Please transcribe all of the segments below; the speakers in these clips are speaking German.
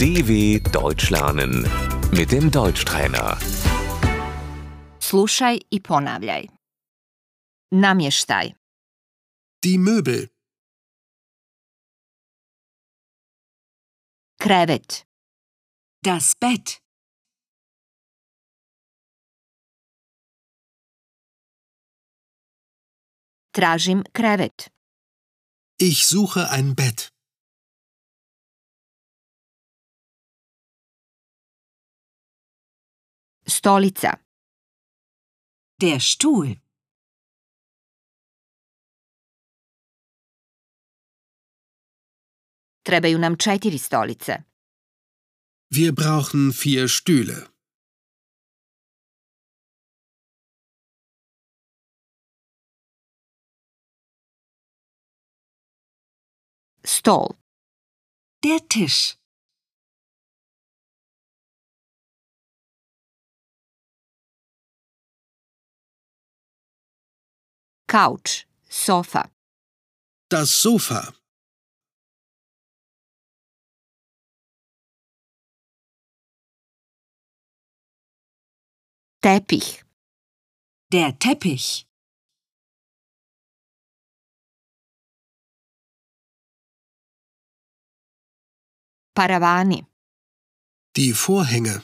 DW Deutsch lernen mit dem Deutschtrainer. Slušaj i ponavljaj. Namještaj, Die Möbel, krevet, Das Bett, tražim krevet, ich suche ein Bett, stolica, der Stuhl, trebaju nam četiri stolice, wir brauchen vier Stühle, stol, der Tisch, kauč, sofa, das Sofa, tepih, der Teppich, paravani, die Vorhänge,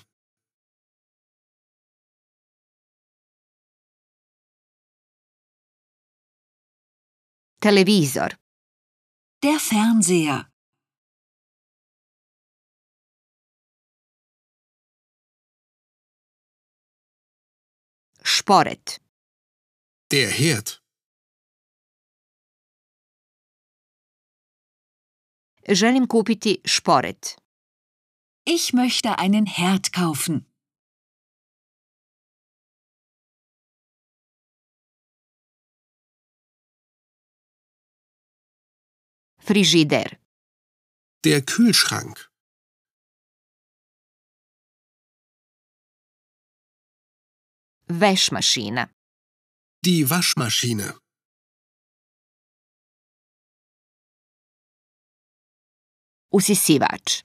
televizor, der Fernseher, šporet, der Herd, želim kupiti šporet, Ich möchte einen Herd kaufen. frižider, der Kühlschrank, vešmašina, die Waschmaschine, usisivač,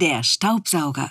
Der Staubsauger.